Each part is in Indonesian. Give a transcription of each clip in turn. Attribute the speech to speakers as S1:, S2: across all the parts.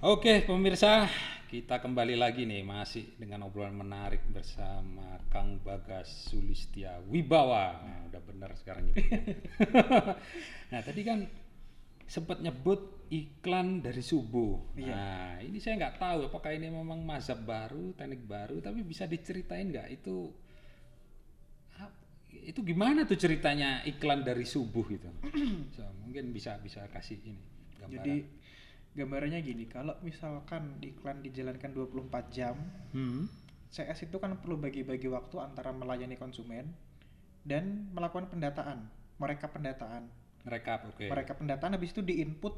S1: Oke, pemirsa, kita kembali lagi nih masih dengan obrolan menarik bersama Kang Bagas Sulistia Wibawa. Nah, udah benar sekarang nyebutnya. nah, tadi kan sempat nyebut iklan dari subuh. Nah, ini saya nggak tahu apakah ini memang mazhab baru, teknik baru, tapi bisa diceritain nggak itu ap- itu gimana tuh ceritanya iklan dari subuh gitu? So, mungkin bisa bisa kasih ini gambaran.
S2: Jadi gambarannya gini, kalau misalkan iklan dijalankan 24 jam,
S1: Hmm.
S2: CS itu kan perlu bagi-bagi waktu antara melayani konsumen dan melakukan pendataan, mereka pendataan.
S1: Rekap, oke.
S2: Mereka pendataan habis itu diinput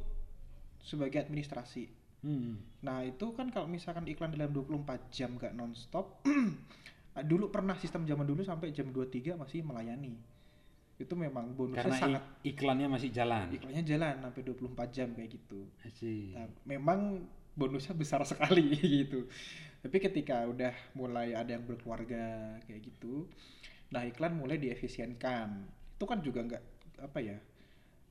S2: sebagai administrasi.
S1: Hmm.
S2: Nah, itu kan kalau misalkan iklan dalam 24 jam gak nonstop, ah, dulu pernah sistem zaman dulu sampai jam 23 masih melayani. Itu memang bonusnya
S1: Karena
S2: sangat
S1: ik- iklannya masih jalan.
S2: iklannya jalan sampai 24 jam kayak gitu.
S1: Asik.
S2: Nah, memang bonusnya besar sekali gitu. Tapi ketika udah mulai ada yang berkeluarga kayak gitu, nah iklan mulai diefisienkan. Itu kan juga nggak apa ya?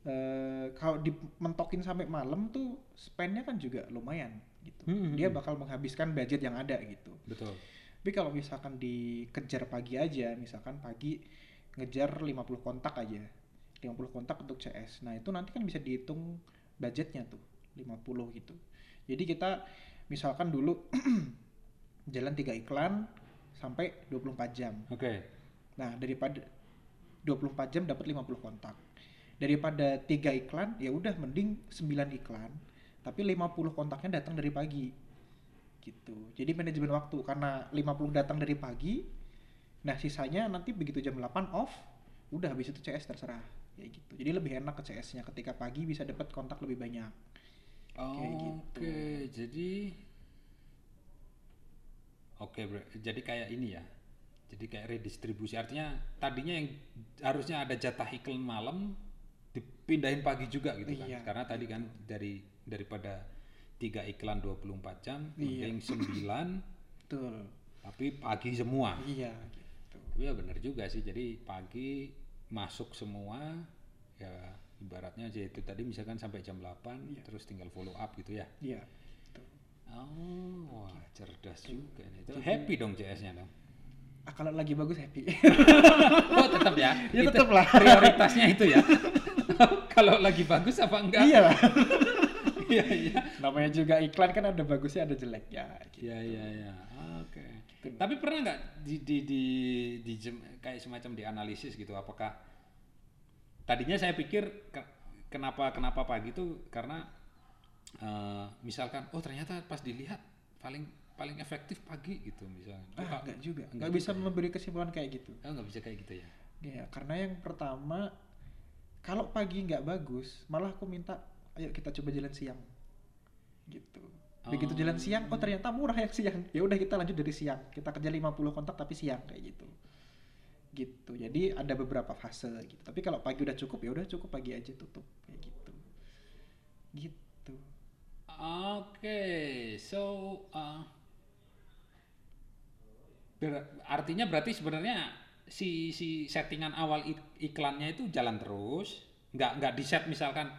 S2: eh, kalau dimentokin sampai malam tuh spendnya kan juga lumayan gitu.
S1: Hmm, hmm,
S2: Dia
S1: hmm.
S2: bakal menghabiskan budget yang ada gitu.
S1: Betul.
S2: Tapi kalau misalkan dikejar pagi aja, misalkan pagi ngejar 50 kontak aja. 50 kontak untuk CS. Nah, itu nanti kan bisa dihitung budgetnya tuh, 50 gitu. Jadi kita misalkan dulu jalan tiga iklan sampai 24 jam.
S1: Oke.
S2: Nah, daripada 24 jam dapat 50 kontak. Daripada tiga iklan, ya udah mending 9 iklan, tapi 50 kontaknya datang dari pagi. Gitu. Jadi manajemen waktu karena 50 datang dari pagi, nah sisanya nanti begitu jam 8 off, udah habis itu CS terserah. Ya gitu. Jadi lebih enak ke CS-nya ketika pagi bisa dapat kontak lebih banyak. Kayak
S1: Oke,
S2: gitu.
S1: jadi Oke, bro. Jadi kayak ini ya. Jadi kayak redistribusi. Artinya tadinya yang harusnya ada jatah iklan malam dipindahin pagi juga gitu kan.
S2: Iya.
S1: Karena tadi kan dari daripada tiga iklan 24 jam,
S2: Iya.
S1: mending 9
S2: Betul.
S1: tapi pagi semua.
S2: Iya, gitu.
S1: Tapi ya benar juga sih. Jadi pagi masuk semua ya ibaratnya aja itu tadi misalkan sampai jam 8
S2: Iya.
S1: terus tinggal follow up gitu ya.
S2: Iya. Gitu.
S1: Oh, wah cerdas juga nih. Itu happy dong CS-nya dong.
S2: Ah, kalau lagi bagus happy.
S1: Oh, tetap ya.
S2: Ya,
S1: Itu
S2: tetap lah.
S1: Prioritasnya itu ya. Kalau lagi bagus apa enggak?
S2: iya lah.
S1: Iya, iya.
S2: Namanya juga iklan kan ada bagusnya ada jeleknya. Gitu.
S1: Iya, iya, iya. Oke. Tapi pernah nggak di, di, di, di jem- kayak semacam dianalisis gitu? Apakah tadinya saya pikir ke- kenapa kenapa pagi itu karena eh, misalkan oh ternyata pas dilihat paling paling efektif pagi gitu misalnya. Oh,
S2: Ah,
S1: Kak,
S2: enggak juga.
S1: Enggak
S2: Enggak bisa memberi kesimpulan kayak gitu.
S1: oh, nggak bisa kayak gitu ya?
S2: Ya, karena yang pertama kalau pagi nggak bagus, malah aku minta ayo kita coba jalan siang. Gitu. Begitu jalan siang, oh ternyata murah yang siang. Ya udah kita lanjut dari siang. Kita kerja 50 kontak tapi siang kayak gitu. Gitu. Jadi ada beberapa fase gitu. Tapi kalau pagi udah cukup, ya udah cukup pagi aja tutup kayak gitu. Gitu.
S1: Oke, so uh, ber- artinya berarti sebenarnya si si settingan awal ik- iklannya itu jalan terus, nggak nggak di set misalkan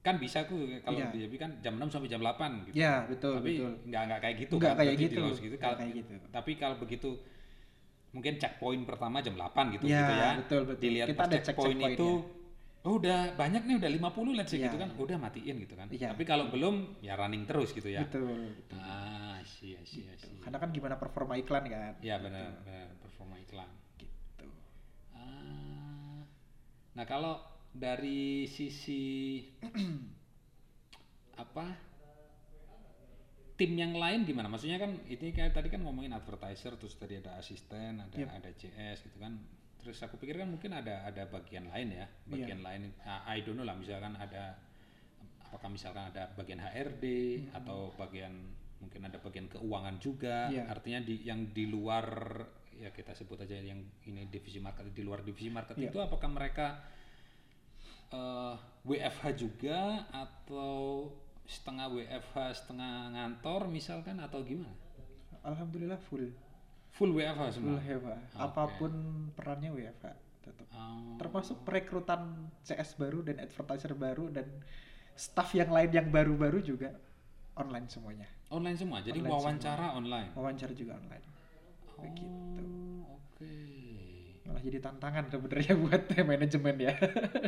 S1: kan bisa tuh kalau
S2: Iya.
S1: di FB kan jam 6 sampai jam 8 gitu.
S2: Ya, betul,
S1: tapi
S2: betul.
S1: nggak nggak kayak gitu
S2: Nggak
S1: kan.
S2: kayak
S1: berarti
S2: gitu,
S1: di lounge gitu.
S2: nggak
S1: Kalau-
S2: kayak gitu.
S1: Tapi kalau begitu mungkin checkpoint pertama jam 8 gitu
S2: Ya,
S1: gitu ya.
S2: betul, betul.
S1: Dilihat
S2: Kita
S1: pas
S2: ada
S1: checkpoint
S2: check-checkpointnya.
S1: itu oh udah banyak nih udah 50 let's say
S2: Iya,
S1: gitu kan.
S2: iya.
S1: Udah matiin gitu kan.
S2: Iya.
S1: Tapi kalau belum ya running terus gitu ya.
S2: Betul.
S1: Ah, sih, sih, sih.
S2: Karena kan gimana performa iklan kan?
S1: Ya benar, benar performa iklan.
S2: Gitu.
S1: Ah. Nah, kalau dari sisi apa tim yang lain gimana? Maksudnya kan ini kayak tadi kan ngomongin advertiser terus tadi ada asisten, ada
S2: Yep.
S1: ada CS gitu kan. Terus aku pikir kan mungkin ada ada bagian lain
S2: Iya.
S1: ya, bagian lain ah, I don't know lah misalkan ada apakah misalkan ada bagian HRD
S2: Mm-hmm.
S1: atau bagian mungkin ada bagian keuangan juga.
S2: Iya.
S1: Artinya di yang di luar ya kita sebut aja yang ini divisi market di luar divisi market
S2: Iya.
S1: itu apakah mereka eh, WFH juga atau setengah WFH setengah ngantor misalkan atau gimana?
S2: Alhamdulillah full.
S1: Full WFH semua.
S2: Full WFH. Apapun perannya WFH tetap.
S1: Oh,
S2: Termasuk perekrutan CS baru dan advertiser baru dan staff yang lain yang baru-baru juga online semuanya.
S1: Online semua. Jadi
S2: Online
S1: wawancara online.
S2: Wawancara juga online. Begitu.
S1: Oh, Oke.
S2: Malah jadi tantangan sebenarnya buat manajemen ya.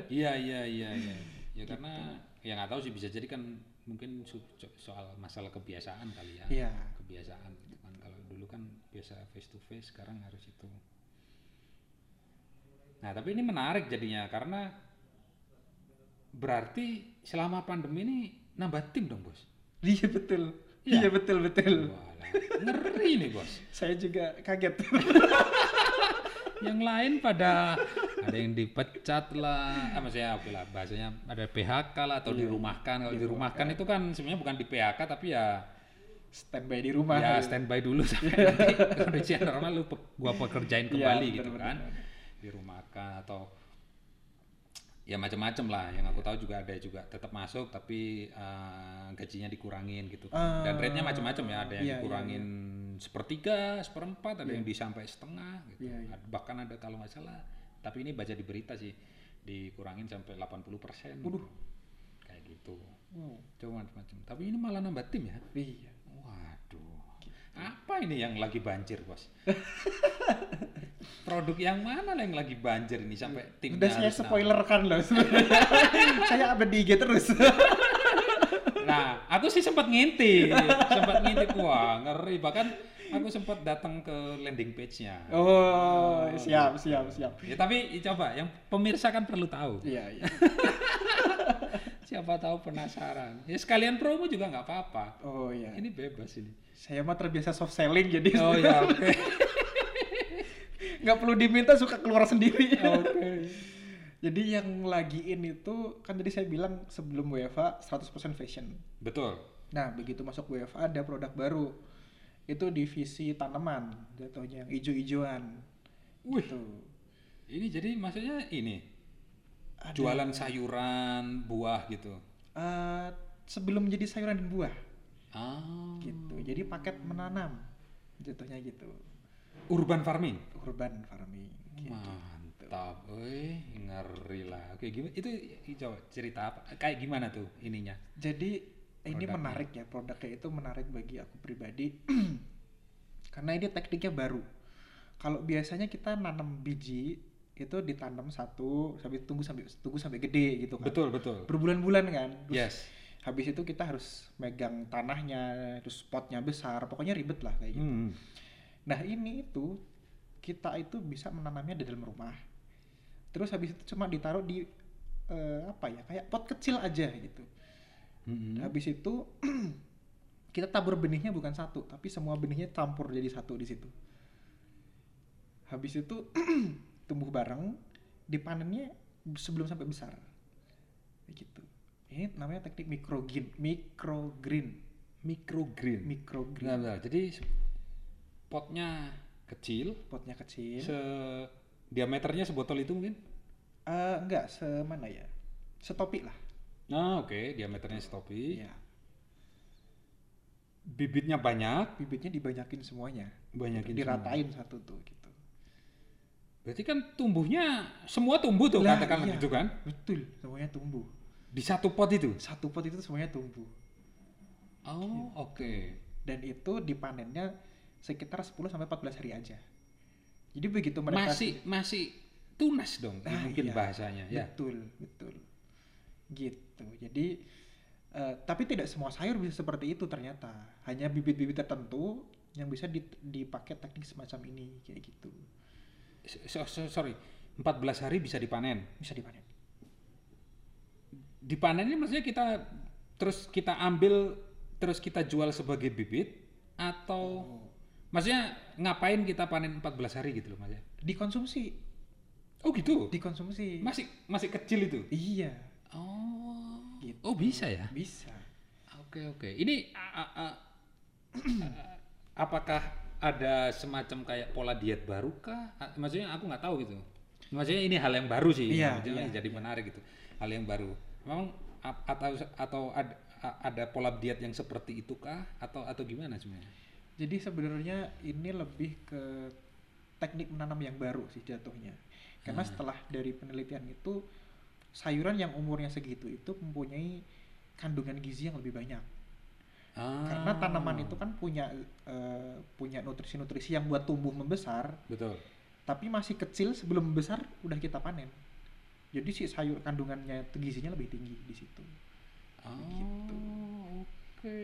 S1: Iya iya iya iya. Ya karena
S2: Gitu.
S1: ya nggak tahu sih bisa jadi kan mungkin so- so- soal masalah kebiasaan kali ya.
S2: Iya.
S1: Kebiasaan gitu kan kalau dulu kan biasa face to face sekarang harus itu. Nah, tapi ini menarik jadinya karena berarti selama pandemi ini nambah tim dong, Bos.
S2: Iya betul.
S1: Iya.
S2: Iya betul betul.
S1: Walah, ngeri nih, Bos.
S2: Saya juga kaget.
S1: yang lain pada ada yang dipecat lah ah, maksudnya apa lah bahasanya ada PHK lah atau dirumahkan kalau dirumahkan itu kan sebenarnya bukan di PHK tapi ya
S2: Standby di rumah.
S1: ya standby dulu sampai nanti kondisi normal lu pe- gua pekerjain
S2: Iya,
S1: kembali gitu
S2: benar-benar.
S1: kan dirumahkan atau ya macam-macam lah yang aku tahu juga ada juga tetap masuk tapi eh, gajinya dikurangin gitu
S2: Ah,
S1: dan rate-nya macam-macam ya ada yang
S2: iya, iya,
S1: dikurangin sepertiga seperempat ada yang di sampai setengah gitu
S2: Iya, iya.
S1: Ad- bahkan ada kalau nggak salah tapi ini baca di berita sih dikurangin sampai 80 persen kayak gitu
S2: Wow.
S1: cuma macam tapi ini malah nambah tim ya
S2: Iya.
S1: Waduh. Apa ini yang lagi banjir, Bos? Produk yang mana yang lagi banjir ini sampai timnya
S2: Udah ya, saya
S1: harus
S2: spoilerkan kan loh sebenarnya. saya update di IG terus.
S1: nambah? Nah, aku sih sempat ngintip, sempat ngintip wah, ngeri bahkan aku sempat datang ke landing page-nya.
S2: Oh, siap siap siap.
S1: Ya tapi coba yang pemirsa kan perlu tahu.
S2: Iya iya.
S1: Siapa tahu penasaran. Ya sekalian promo juga nggak apa-apa.
S2: Oh iya.
S1: Ini bebas ini.
S2: Saya mah terbiasa soft selling jadi
S1: Oh ya, oke.
S2: nggak perlu diminta suka keluar sendiri.
S1: Oke.
S2: Jadi yang lagiin itu kan tadi saya bilang sebelum WFA 100% fashion.
S1: Betul.
S2: Nah, begitu masuk WFA ada produk baru. Itu divisi tanaman jatuhnya yang ijo-ijoan.
S1: Wih.
S2: Gitu.
S1: Ini jadi maksudnya ini
S2: Ada-
S1: jualan sayuran buah gitu
S2: Eh, sebelum jadi sayuran dan buah
S1: ah
S2: gitu. Jadi paket menanam jatuhnya gitu.
S1: urban farming
S2: Urban farming. gitu.
S1: mantap eh ngeri lah oke gimana itu i- coba cerita apa kayak gimana tuh ininya
S2: Jadi ini
S1: Produknya.
S2: menarik ya produknya itu menarik bagi aku pribadi karena ini tekniknya baru. Kalau biasanya kita nanam biji itu ditanam satu sampai tunggu sampai tunggu sampai gede gitu kan.
S1: betul betul
S2: Berbulan-bulan kan. Terus
S1: yes
S2: Habis itu kita harus megang tanahnya, terus potnya besar, pokoknya ribet lah kayak gitu.
S1: Hmm.
S2: Nah ini itu kita itu bisa menanamnya di dalam rumah. Terus habis itu cuma ditaruh di eh, apa ya kayak pot kecil aja gitu.
S1: Hmm.
S2: Habis itu kita tabur benihnya bukan satu, tapi semua benihnya campur jadi satu di situ. Habis itu tumbuh bareng, dipanennya sebelum sampai besar. Kayak gitu. Ini namanya teknik microgreen, microgreen,
S1: microgreen Bentar,
S2: microgreen.
S1: bentar. Nah, jadi se- potnya kecil
S2: Potnya kecil.
S1: Nah, se diameternya sebotol itu mungkin
S2: Eh, enggak, semana ya? Setopik lah.
S1: nah oke diameternya stopi
S2: Iya.
S1: bibitnya banyak
S2: Bibitnya dibanyakin semuanya.
S1: banyakin semua.
S2: diratain satu tuh gitu.
S1: Berarti kan tumbuhnya semua tumbuh tuh
S2: Lah,
S1: katakan
S2: iya.
S1: gitu kan?
S2: Betul, semuanya tumbuh.
S1: Di satu pot itu.
S2: Satu pot itu semuanya tumbuh.
S1: Oh, oke.
S2: Dan itu dipanennya sekitar 10 sampai 14 hari aja. Jadi begitu mereka
S1: Masih masih tunas dong
S2: Nah,
S1: mungkin
S2: iya.
S1: bahasanya ya.
S2: Betul, betul. Gitu. Jadi eh, tapi tidak semua sayur bisa seperti itu ternyata. Hanya bibit-bibit tertentu yang bisa di- dipakai teknik semacam ini kayak gitu.
S1: So- so- sorry, 14 hari bisa dipanen.
S2: Bisa dipanen.
S1: Dipanen ini maksudnya kita terus kita ambil terus kita jual sebagai bibit atau
S2: Oh.
S1: maksudnya ngapain kita panen 14 hari gitu loh Mas ya?
S2: Dikonsumsi,
S1: Oh, gitu.
S2: dikonsumsi.
S1: Masih masih kecil itu.
S2: iya,
S1: Oh.
S2: Gitu.
S1: Oh, bisa ya?
S2: bisa.
S1: Oke oke. Ini a- a- a- a- apakah ada semacam kayak pola diet baru kah? A- Maksudnya aku nggak tahu gitu. Maksudnya ini hal yang baru sih.
S2: Iya,
S1: Maksudnya
S2: iya,
S1: jadi menarik gitu. Hal yang baru. Memang a- atau atau ad- a- ada, pola diet yang seperti itu kah? Atau atau gimana sebenarnya?
S2: Jadi sebenarnya ini lebih ke teknik menanam yang baru sih jatuhnya.
S1: Ah.
S2: Karena setelah dari penelitian itu sayuran yang umurnya segitu itu mempunyai kandungan gizi yang lebih banyak.
S1: Ah,
S2: Karena tanaman itu kan punya eh, punya nutrisi-nutrisi yang buat tumbuh membesar,
S1: Ah, betul.
S2: tapi masih kecil sebelum membesar udah kita panen. Jadi si sayur kandungannya gizinya lebih tinggi di situ.
S1: Ah,
S2: Gitu.
S1: Oke.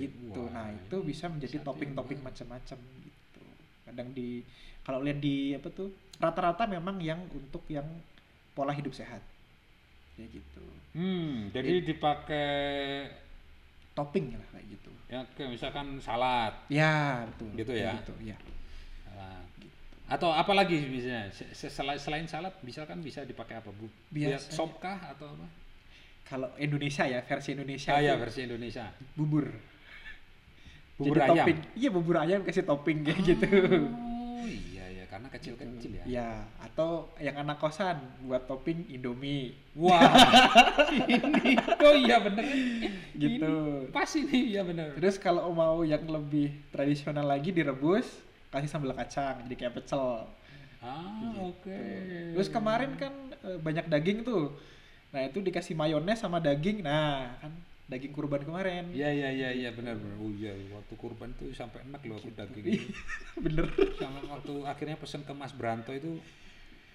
S2: gitu.
S1: Wah, iya.
S2: nah itu bisa menjadi
S1: satu
S2: topping-topping
S1: ilmu.
S2: macam-macam gitu. Kadang di kalau lihat di apa tuh rata-rata memang yang untuk yang pola hidup sehat. Ya gitu.
S1: Hmm, jadi dipakai
S2: Topping lah kayak gitu.
S1: ya kayak misalkan salad.
S2: Ya betul.
S1: Gitu
S2: Kayak
S1: ya.
S2: Gitu ya.
S1: Salad. Nah, Atau apa lagi misalnya? Se- se- selain- Selain salad, bisa kan bisa dipakai apa bu? Biar
S2: Biasanya-
S1: Sop kah atau apa?
S2: Kalau Indonesia ya versi Indonesia
S1: Ah, ya,
S2: itu
S1: versi Indonesia.
S2: bubur.
S1: Bubur
S2: Jadi
S1: ayam. Ah,
S2: Topping. Iya bubur ayam kasih topping kayak gitu.
S1: Oh iya ya, karena kecil-kecil ya.
S2: Ya, atau yang anak kosan buat topping Indomie
S1: Wah, ini oh iya bener
S2: gitu.
S1: Ini pas ini ya bener.
S2: Terus kalau mau yang lebih tradisional lagi direbus, kasih sambal kacang, jadi kayak pecel.
S1: Ah oke.
S2: Terus kemarin kan eh, banyak daging tuh. Nah, itu dikasih mayones sama daging. Nah, kan daging kurban kemarin.
S1: Iya iya iya iya benar benar. Oh iya waktu kurban tuh sampai enak loh aku daging. itu.
S2: Bener.
S1: Sama waktu akhirnya pesen ke Mas Branto itu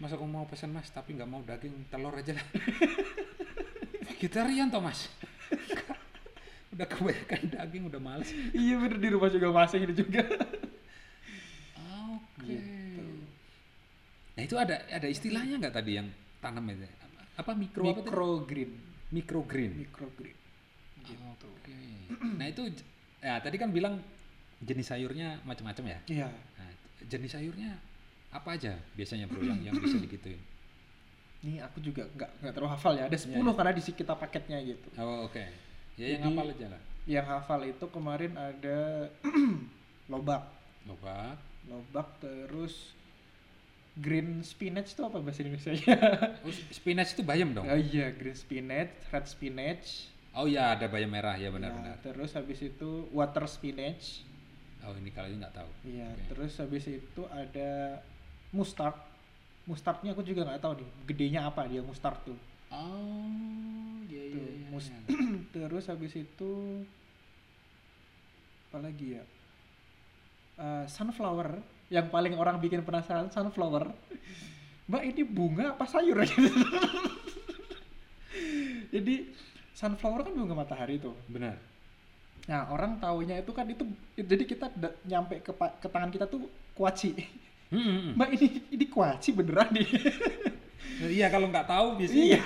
S1: Mas aku mau pesen Mas tapi nggak mau daging telur aja lah. Vegetarian toh Mas. udah kebanyakan daging udah males.
S2: iya bener di rumah juga masih ini juga.
S1: Ah, Oke. Nah itu ada ada istilahnya nggak tadi yang tanam itu? Apa, apa mikro apa tadi?
S2: Micro green,
S1: Micro green.
S2: micro green.
S1: gitu. Ah, Oke. Nah itu j- ya tadi kan bilang jenis sayurnya macam-macam ya.
S2: Iya.
S1: Nah, jenis sayurnya apa aja biasanya bro yang, yang bisa digituin?
S2: Ini aku juga nggak nggak terlalu hafal ya.
S1: Iya,
S2: Ada 10 karena di kita paketnya gitu.
S1: Oh oke. Ya yang
S2: Jadi-
S1: hafal aja lah.
S2: Yang hafal itu kemarin ada lobak.
S1: Lobak.
S2: lobak terus green spinach itu apa bahasa Indonesia ya?
S1: Oh, s- spinach itu bayam dong.
S2: oh iya green spinach, red spinach,
S1: Oh ya ada bayam merah ya
S2: Nah,
S1: benar-benar.
S2: terus habis itu water spinach,
S1: Oh ini kalau ini nggak tahu.
S2: iya
S1: Oke.
S2: terus habis itu ada mustard, mustardnya aku juga nggak tahu nih gedenya apa dia mustard tuh,
S1: Oh iya
S2: Tuh, Gitu. mus- terus habis itu apa lagi ya? Eh, sunflower yang paling orang bikin penasaran sunflower mbak ini bunga apa sayur jadi sunflower kan bunga matahari tuh
S1: Benar.
S2: nah orang taunya itu kan itu jadi kita da- nyampe ke, pa- ke tangan kita tuh kuaci
S1: Hmm, hmm, hmm.
S2: mbak ini ini kuaci beneran nih
S1: Nah, Iya kalau nggak tahu biasanya.
S2: Iya.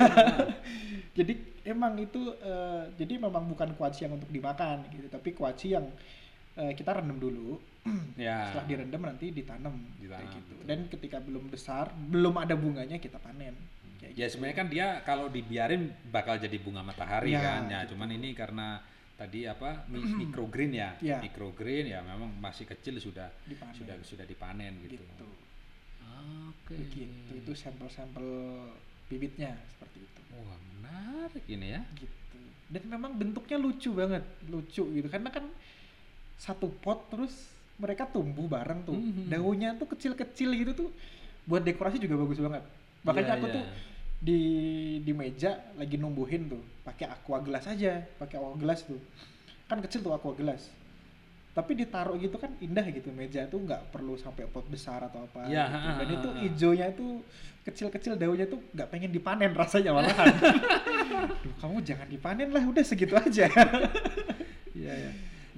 S2: jadi emang itu eh, jadi memang bukan kuaci yang untuk dimakan gitu, tapi kuaci yang eh, kita rendam dulu.
S1: Ya.
S2: Setelah direndam nanti ditanam, kayak
S1: Ditanam,
S2: gitu.
S1: betul.
S2: Dan ketika belum besar, belum ada bunganya kita panen. Kayak
S1: Ya sebenarnya kan dia kalau dibiarin bakal jadi bunga matahari
S2: Ya,
S1: kan. Ya,
S2: gitu. Hmm.
S1: cuman ini karena tadi apa mi- microgreen ya.
S2: Ya.
S1: Microgreen ya memang masih kecil sudah
S2: gitu, Dipanen.
S1: sudah sudah dipanen gitu.
S2: gitu.
S1: Oke.
S2: Begitu itu sampel-sampel bibitnya seperti itu.
S1: Wah, menarik ini ya.
S2: Gitu. Dan memang bentuknya lucu banget, lucu gitu. Karena kan satu pot terus mereka tumbuh bareng tuh.
S1: Mhm.
S2: Daunnya tuh kecil-kecil gitu tuh. Buat dekorasi juga bagus banget. Makanya
S1: Iya,
S2: aku
S1: iya.
S2: tuh di di meja lagi numbuhin tuh pakai aqua gelas aja pakai aqua gelas tuh kan kecil tuh aqua gelas tapi ditaruh gitu kan indah gitu meja tuh nggak perlu sampai pot besar atau apa
S1: Ya,
S2: gitu.
S1: ha, ha,
S2: dan
S1: ha,
S2: itu
S1: ha.
S2: hijaunya tuh kecil-kecil daunnya tuh nggak pengen dipanen rasanya malahan Duh, kamu jangan dipanen lah udah segitu aja
S1: Iya, iya.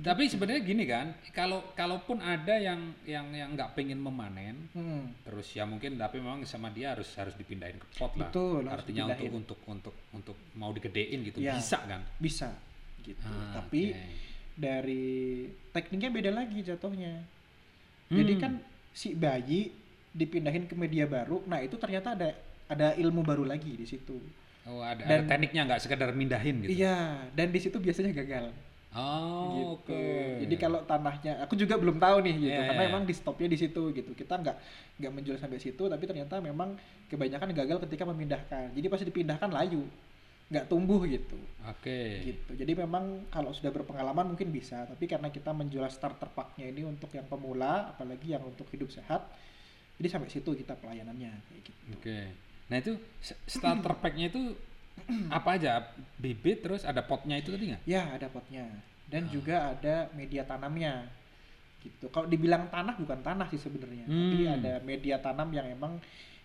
S1: Tapi sebenarnya gini kan, kalau kalaupun ada yang yang yang nggak pengen memanen,
S2: hmm.
S1: terus ya mungkin tapi memang sama dia harus harus dipindahin ke pot lah.
S2: Betul, harus
S1: Artinya untuk
S2: dipindahin.
S1: untuk untuk untuk mau digedein gitu
S2: Iya.
S1: bisa kan.
S2: bisa gitu
S1: Ah,
S2: tapi
S1: oke.
S2: dari tekniknya beda lagi jatuhnya.
S1: Hmm.
S2: Jadi kan si bayi dipindahin ke media baru, nah itu ternyata ada ada ilmu baru lagi di situ.
S1: Oh, ada,
S2: Dan-
S1: ada tekniknya nggak sekedar mindahin gitu.
S2: Iya, dan di situ biasanya gagal.
S1: Oh,
S2: gitu.
S1: oke.
S2: Jadi kalau tanahnya, aku juga belum tahu nih gitu,
S1: Iya,
S2: karena
S1: iya,
S2: memang di stopnya di situ gitu. Kita nggak nggak menjual sampai situ, tapi ternyata memang kebanyakan gagal ketika memindahkan. Jadi pasti dipindahkan layu, nggak tumbuh gitu.
S1: Oke.
S2: gitu. Jadi memang kalau sudah berpengalaman mungkin bisa, tapi karena kita menjual starter pack-nya ini untuk yang pemula, apalagi yang untuk hidup sehat, jadi sampai situ kita pelayanannya kayak gitu.
S1: Oke. Nah, itu s- starter pack-nya itu apa aja? Bibit terus ada potnya itu tadi nggak?
S2: Ya ada potnya,
S1: Ah.
S2: dan juga ada media tanamnya gitu kalau dibilang tanah bukan tanah sih sebenarnya tapi
S1: Hmm.
S2: ada media tanam yang emang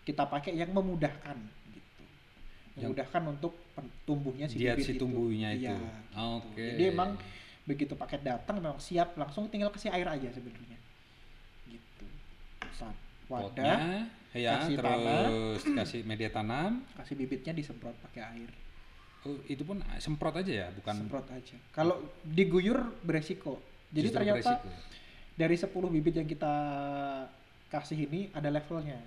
S2: kita pakai yang memudahkan gitu
S1: Yang-
S2: memudahkan untuk pen- tumbuhnya si
S1: Diat si
S2: bibit itu.
S1: tumbuhnya itu.
S2: Iya,
S1: Oke.
S2: gitu. jadi emang begitu paket datang memang siap langsung tinggal kasih air aja sebenarnya gitu Saat wadah
S1: potnya, ya
S2: kasih
S1: terus kasih media tanam.
S2: kasih bibitnya disemprot pakai air
S1: Oh, itu pun semprot aja ya, bukan
S2: semprot aja kalau diguyur beresiko jadi
S1: justru
S2: ternyata
S1: beresiko.
S2: dari 10 bibit yang kita kasih ini ada levelnya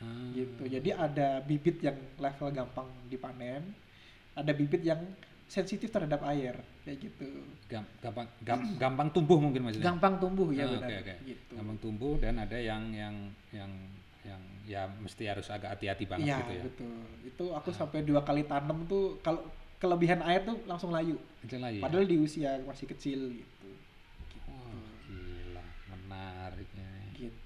S1: Ah,
S2: gitu. Jadi ada bibit yang level gampang dipanen, ada bibit yang sensitif terhadap air kayak gitu.
S1: gam- gampang gam- gampang tumbuh mungkin maksudnya.
S2: Gampang tumbuh ya
S1: Ah,
S2: benar
S1: oke, oke.
S2: gitu.
S1: Gampang tumbuh dan ada yang yang yang yang ya mesti harus agak hati-hati banget
S2: Iya,
S1: gitu ya. Ah.
S2: betul. Itu aku sampai dua kali tanam tuh kalau kelebihan air tuh langsung layu.
S1: Itu lagi. ya?
S2: Padahal di usia masih kecil gitu.
S1: Wah, gila, menariknya.
S2: Gitu.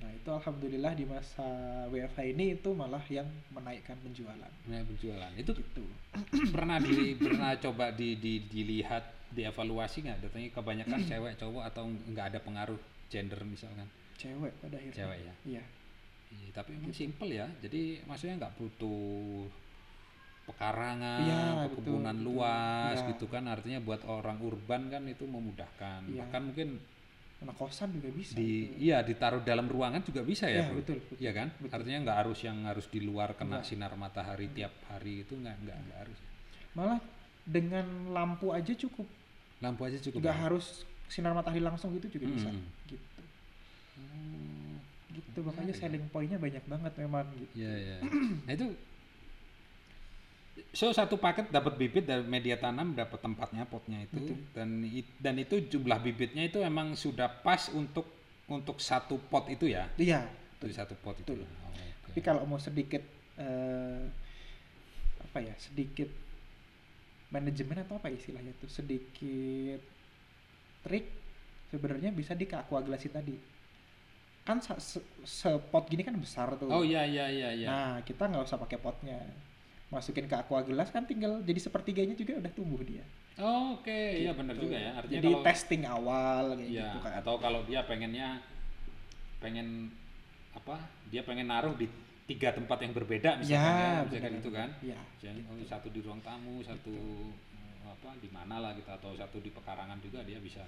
S2: Nah, itu alhamdulillah di masa WFH ini itu malah yang menaikkan penjualan
S1: Nah, penjualan. Itu
S2: gitu.
S1: pernah di pernah coba di, di- dilihat dievaluasi nggak datanya kebanyakan cewek cowok atau nggak ada pengaruh gender misalkan
S2: Cewek pada akhirnya.
S1: cewek ya
S2: Iya.
S1: Iya, tapi emang simple ya jadi maksudnya nggak butuh pekarangan
S2: Iya,
S1: perkebunan
S2: betul, betul.
S1: luas
S2: Iya.
S1: gitu kan artinya buat orang urban kan itu memudahkan
S2: Iya.
S1: bahkan mungkin
S2: Anak kosan juga bisa.
S1: di
S2: itu.
S1: iya ditaruh dalam ruangan juga bisa ya,
S2: Iya,
S1: Bro?
S2: betul, betul,
S1: Iya kan
S2: betul.
S1: artinya nggak harus yang harus di luar kena
S2: Nggak.
S1: sinar matahari tiap hari itu nggak nggak nggak harus
S2: malah dengan lampu aja cukup
S1: lampu aja cukup
S2: nggak
S1: ya?
S2: harus sinar matahari langsung gitu juga bisa
S1: Mm.
S2: gitu
S1: Hmm.
S2: gitu makanya
S1: Menarik ya.
S2: selling point-nya banyak banget memang gitu
S1: Iya, iya. Nah itu So satu paket dapat bibit dari media tanam, dapat tempatnya, potnya itu
S2: Betul.
S1: dan i- dan itu jumlah bibitnya itu emang sudah pas untuk untuk satu pot itu ya.
S2: iya
S1: Untuk satu pot itu.
S2: Betul.
S1: ya. Oh, oke.
S2: tapi kalau mau sedikit eh, apa ya sedikit manajemen atau apa istilahnya tuh sedikit trik sebenarnya bisa di aquaglasi tadi kan sa- se- sepot gini kan besar tuh
S1: Oh iya iya iya iya.
S2: Nah, kita nggak usah pakai potnya. Masukin ke aqua gelas kan tinggal jadi sepertiganya juga udah tumbuh dia.
S1: Oh, Oke, iya benar
S2: Gitu.
S1: juga ya. Artinya
S2: jadi
S1: kalau
S2: testing awal kayak
S1: iya,
S2: gitu kan.
S1: atau kalau dia pengennya pengen apa? Dia pengen naruh di tiga tempat yang berbeda misalkan
S2: Ya,
S1: ya, misalkan
S2: benar.
S1: itu kan.
S2: Iya.
S1: Jadi, oh, satu di ruang tamu,
S2: Gitu.
S1: satu eh, apa di mana lah kita atau satu di pekarangan juga dia bisa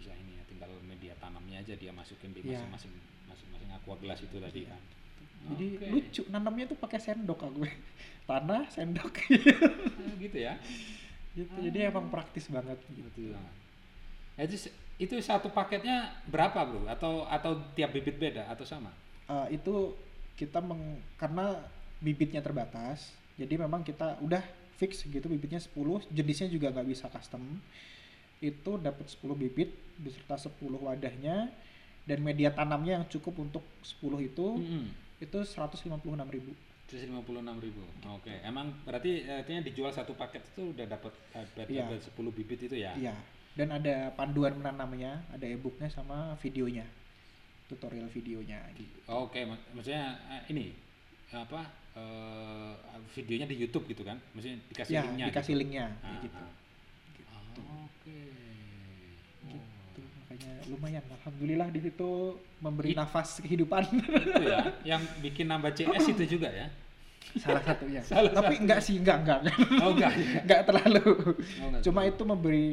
S1: bisa ini ya tinggal media tanamnya aja dia masukin di
S2: Iya.
S1: masing-masing masing-masing aqua gelas itu tadi kan.
S2: Jadi
S1: Oke.
S2: lucu nanamnya tuh pakai sendok aku. Tanah, sendok.
S1: Nah, gitu ya.
S2: gitu. Jadi
S1: Ah.
S2: emang praktis banget
S1: Gitu
S2: gitu.
S1: ya. Nah, Itu se- itu satu paketnya berapa, Bro? Atau atau tiap bibit beda atau sama?
S2: Eh, itu kita meng- karena bibitnya terbatas. Jadi memang kita udah fix gitu bibitnya 10, jenisnya juga nggak bisa custom. Itu dapat 10 bibit beserta 10 wadahnya dan media tanamnya yang cukup untuk 10 itu
S1: Mm-mm.
S2: itu 156.000.
S1: 156.000.
S2: Gitu.
S1: Oke, emang berarti eh, artinya dijual satu paket itu udah eh, dapat dapat
S2: Iya.
S1: dapat 10 bibit itu ya.
S2: Iya. Dan ada panduan menanamnya, ada e-booknya sama videonya. Tutorial videonya gitu.
S1: Oke, mak- maksudnya eh, ini apa eh, videonya di YouTube gitu kan? Maksudnya dikasih
S2: Ya,
S1: linknya.
S2: dikasih
S1: gitu.
S2: linknya kayak
S1: Ah,
S2: gitu.
S1: ah.
S2: Gitu.
S1: Ah, Oke. Oh.
S2: Gitu, makanya lumayan alhamdulillah di situ memberi
S1: It-
S2: nafas kehidupan
S1: Oh, itu ya, yang bikin nambah CS itu juga ya?
S2: salah satunya
S1: Salah
S2: tapi enggak sih enggak enggak enggak,
S1: Oh enggak. ya?
S2: enggak terlalu
S1: Oh, enggak.
S2: cuma itu memberi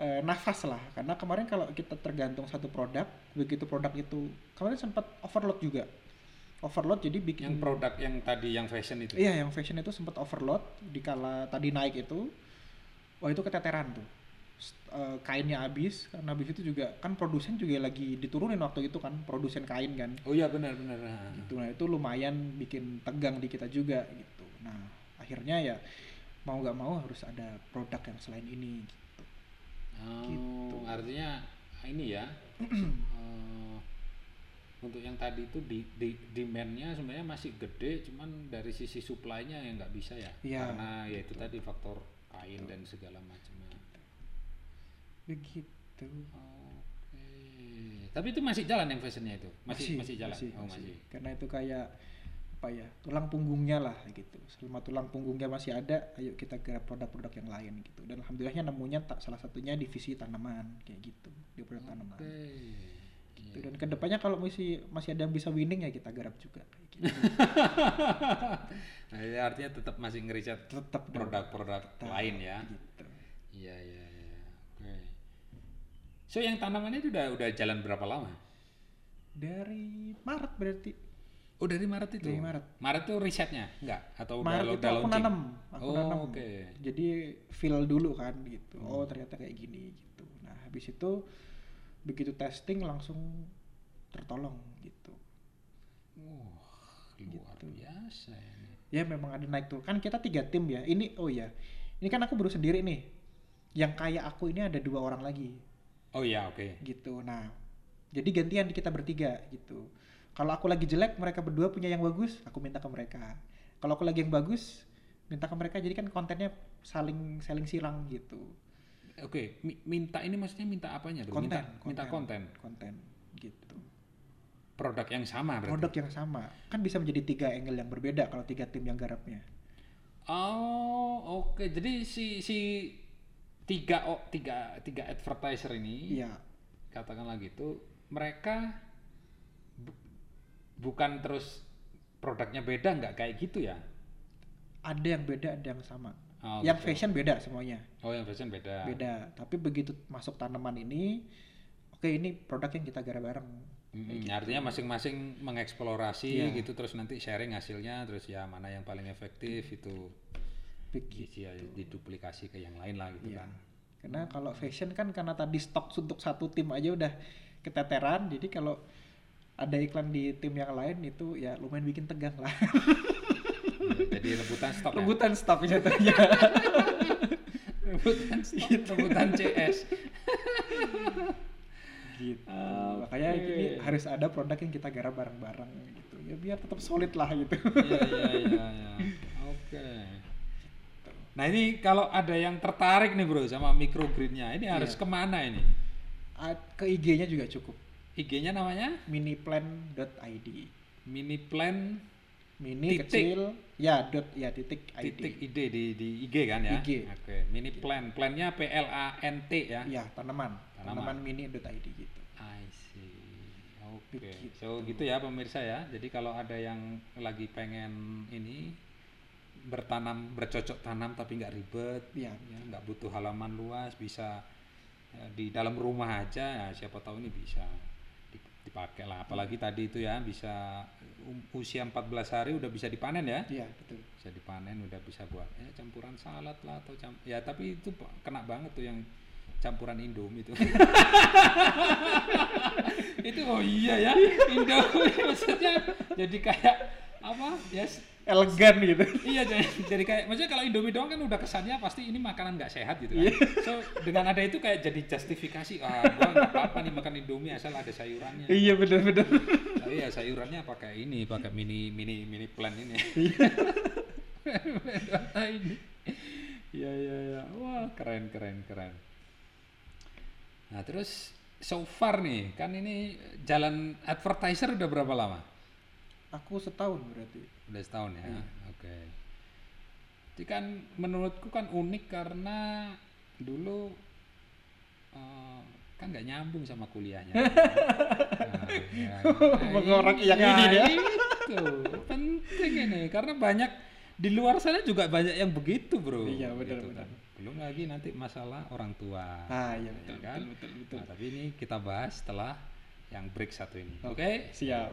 S2: eh, nafas lah karena kemarin kalau kita tergantung satu produk begitu produk itu kemarin sempat overload juga overload jadi bikin
S1: yang produk yang tadi yang fashion itu.
S2: iya yang fashion itu sempat overload dikala tadi naik itu wah itu keteteran tuh S- eh, kainnya habis karena habis itu juga kan produsen juga lagi diturunin waktu itu kan produsen kain kan
S1: Oh iya benar-benar. Ah.
S2: gitu nah itu lumayan bikin tegang di kita juga gitu nah akhirnya ya mau nggak mau harus ada produk yang selain ini gitu
S1: Oh,
S2: Gitu.
S1: artinya ini ya. eh, untuk yang tadi itu di, di demand-nya sebenarnya masih gede, cuman dari sisi supply-nya yang nggak bisa ya.
S2: Iya,
S1: Karena ya itu tadi faktor kain dan segala
S2: Gitu.
S1: macamnya.
S2: begitu
S1: Oke. Tapi itu masih jalan yang fashionnya itu. Masih masih, jalan. oh, masih.
S2: karena itu kayak apa ya tulang punggungnya lah gitu selama tulang punggungnya masih ada ayo kita garap produk-produk yang lain gitu dan alhamdulillahnya nemunya tak salah satunya divisi tanaman kayak gitu di produk tanaman
S1: Oke. Iya.
S2: gitu. dan kedepannya kalau masih masih ada yang bisa winning ya kita garap juga kayak gitu.
S1: Nah, jadi artinya tetap masih ngeriset
S2: tetap dong,
S1: produk-produk
S2: tetap
S1: lain ya.
S2: gitu.
S1: Iya iya iya. Oke. So yang tanamannya itu udah udah jalan berapa lama?
S2: dari Maret berarti
S1: Oh dari Maret itu.
S2: Dari Maret.
S1: Maret tuh risetnya enggak atau udah
S2: Maret
S1: lo-
S2: itu
S1: udah
S2: aku
S1: launching?
S2: nanam aku
S1: Oh,
S2: nanam
S1: oke. Hmm.
S2: jadi feel dulu kan gitu oh ternyata kayak gini gitu nah habis itu begitu testing langsung tertolong gitu
S1: Wah, luar biasa ini.
S2: ya memang ada naik turun kan kita tiga tim ya ini oh ya ini kan aku baru sendiri nih yang kayak aku ini ada dua orang lagi
S1: Oh iya oke.
S2: gitu nah jadi gantian kita bertiga gitu kalau aku lagi jelek mereka berdua punya yang bagus aku minta ke mereka kalau aku lagi yang bagus minta ke mereka jadi kan kontennya saling saling silang gitu
S1: Oke, mi- minta ini maksudnya minta apanya? tuh?
S2: konten
S1: minta, minta konten.
S2: konten gitu
S1: Produk yang sama berarti.
S2: produk yang sama kan bisa menjadi tiga angle yang berbeda kalau tiga tim yang garapnya
S1: Oh, oke. Jadi si si tiga oh, tiga tiga advertiser ini
S2: iya
S1: katakanlah gitu, mereka bu- bukan terus produknya beda nggak kayak gitu ya?
S2: ada yang beda ada yang sama
S1: Oh,
S2: yang
S1: gitu.
S2: fashion beda semuanya
S1: Oh, yang fashion beda.
S2: beda tapi begitu masuk tanaman ini oke ini produk yang kita garap bareng
S1: Mm-mm, Artinya masing-masing mengeksplorasi
S2: Iya.
S1: gitu terus nanti sharing hasilnya terus ya mana yang paling efektif
S2: Iya.
S1: itu
S2: begitu
S1: ya, diduplikasi ke yang lain lah gitu
S2: Iya.
S1: kan.
S2: Karena kalau fashion kan karena tadi stok untuk satu tim aja udah keteteran, jadi kalau ada iklan di tim yang lain itu ya lumayan bikin tegang lah.
S1: Ya, jadi rebutan stok ya.
S2: Rebutan stok jatuhnya.
S1: rebutan stok, rebutan CS.
S2: gitu.
S1: Oke.
S2: Makanya
S1: iya,
S2: ini harus ada produk yang kita garap bareng-bareng gitu. Ya biar tetap solid lah gitu.
S1: Iya iya iya. iya. Oke. Nah ini kalau ada yang tertarik nih bro sama microgreenya, ini harus kemana ini?
S2: A- Ke IG-nya juga cukup.
S1: IG-nya namanya
S2: miniplan.id.
S1: Mini Plan
S2: Mini
S1: Titik.
S2: kecil ya dot ya titik id.
S1: titik id di di IG kan ya?
S2: IG.
S1: Oke. Mini Plan, plannya P L A N T ya.
S2: Ya, tanaman.
S1: Tanaman.
S2: Tanaman, mini.id gitu.
S1: I see. Oke.
S2: Begitu.
S1: So gitu ya pemirsa ya. Jadi kalau ada yang lagi pengen ini bertanam bercocok tanam tapi nggak ribet,
S2: Iya.
S1: ya nggak butuh halaman luas bisa eh, di dalam rumah aja ya siapa tahu ini bisa dip- dipakai lah apalagi tadi itu ya bisa um- usia 14 hari udah bisa dipanen ya
S2: Iya, betul.
S1: bisa dipanen udah bisa buat ya campuran salad lah atau cam ya tapi itu pa- kena banget tuh yang campuran Indomie itu itu oh iya ya Indomie maksudnya jadi kayak apa ya s-
S2: Elegan gitu.
S1: iya jadi, jadi kayak maksudnya kalau Indomie doang kan udah kesannya pasti ini makanan nggak sehat gitu kan so dengan ada itu kayak jadi justifikasi ah gua nggak apa-apa nih makan Indomie asal ada sayurannya
S2: Iya benar-benar.
S1: tapi ya sayurannya pakai ini, pakai mini mini mini plan ini. ini. Ya ya ya. Wah, keren keren keren. Nah, terus so far nih, kan ini jalan advertiser udah berapa lama?
S2: Aku setahun berarti.
S1: Udah setahun ya.
S2: Iya.
S1: Oke. Jadi kan menurutku kan unik karena dulu eh, kan nggak nyambung sama kuliahnya. Nah, ya.
S2: Mengorek yang
S1: Nah,
S2: ini dia.
S1: Itu penting ini karena banyak di luar sana juga banyak yang begitu bro.
S2: Iya, benar,
S1: Gitu kan. Belum lagi nanti masalah orang tua.
S2: Ah iya
S1: Ya
S2: betul
S1: kan?
S2: betul betul betul.
S1: Nah, tapi ini kita bahas setelah yang break satu ini. Oke.
S2: Siap.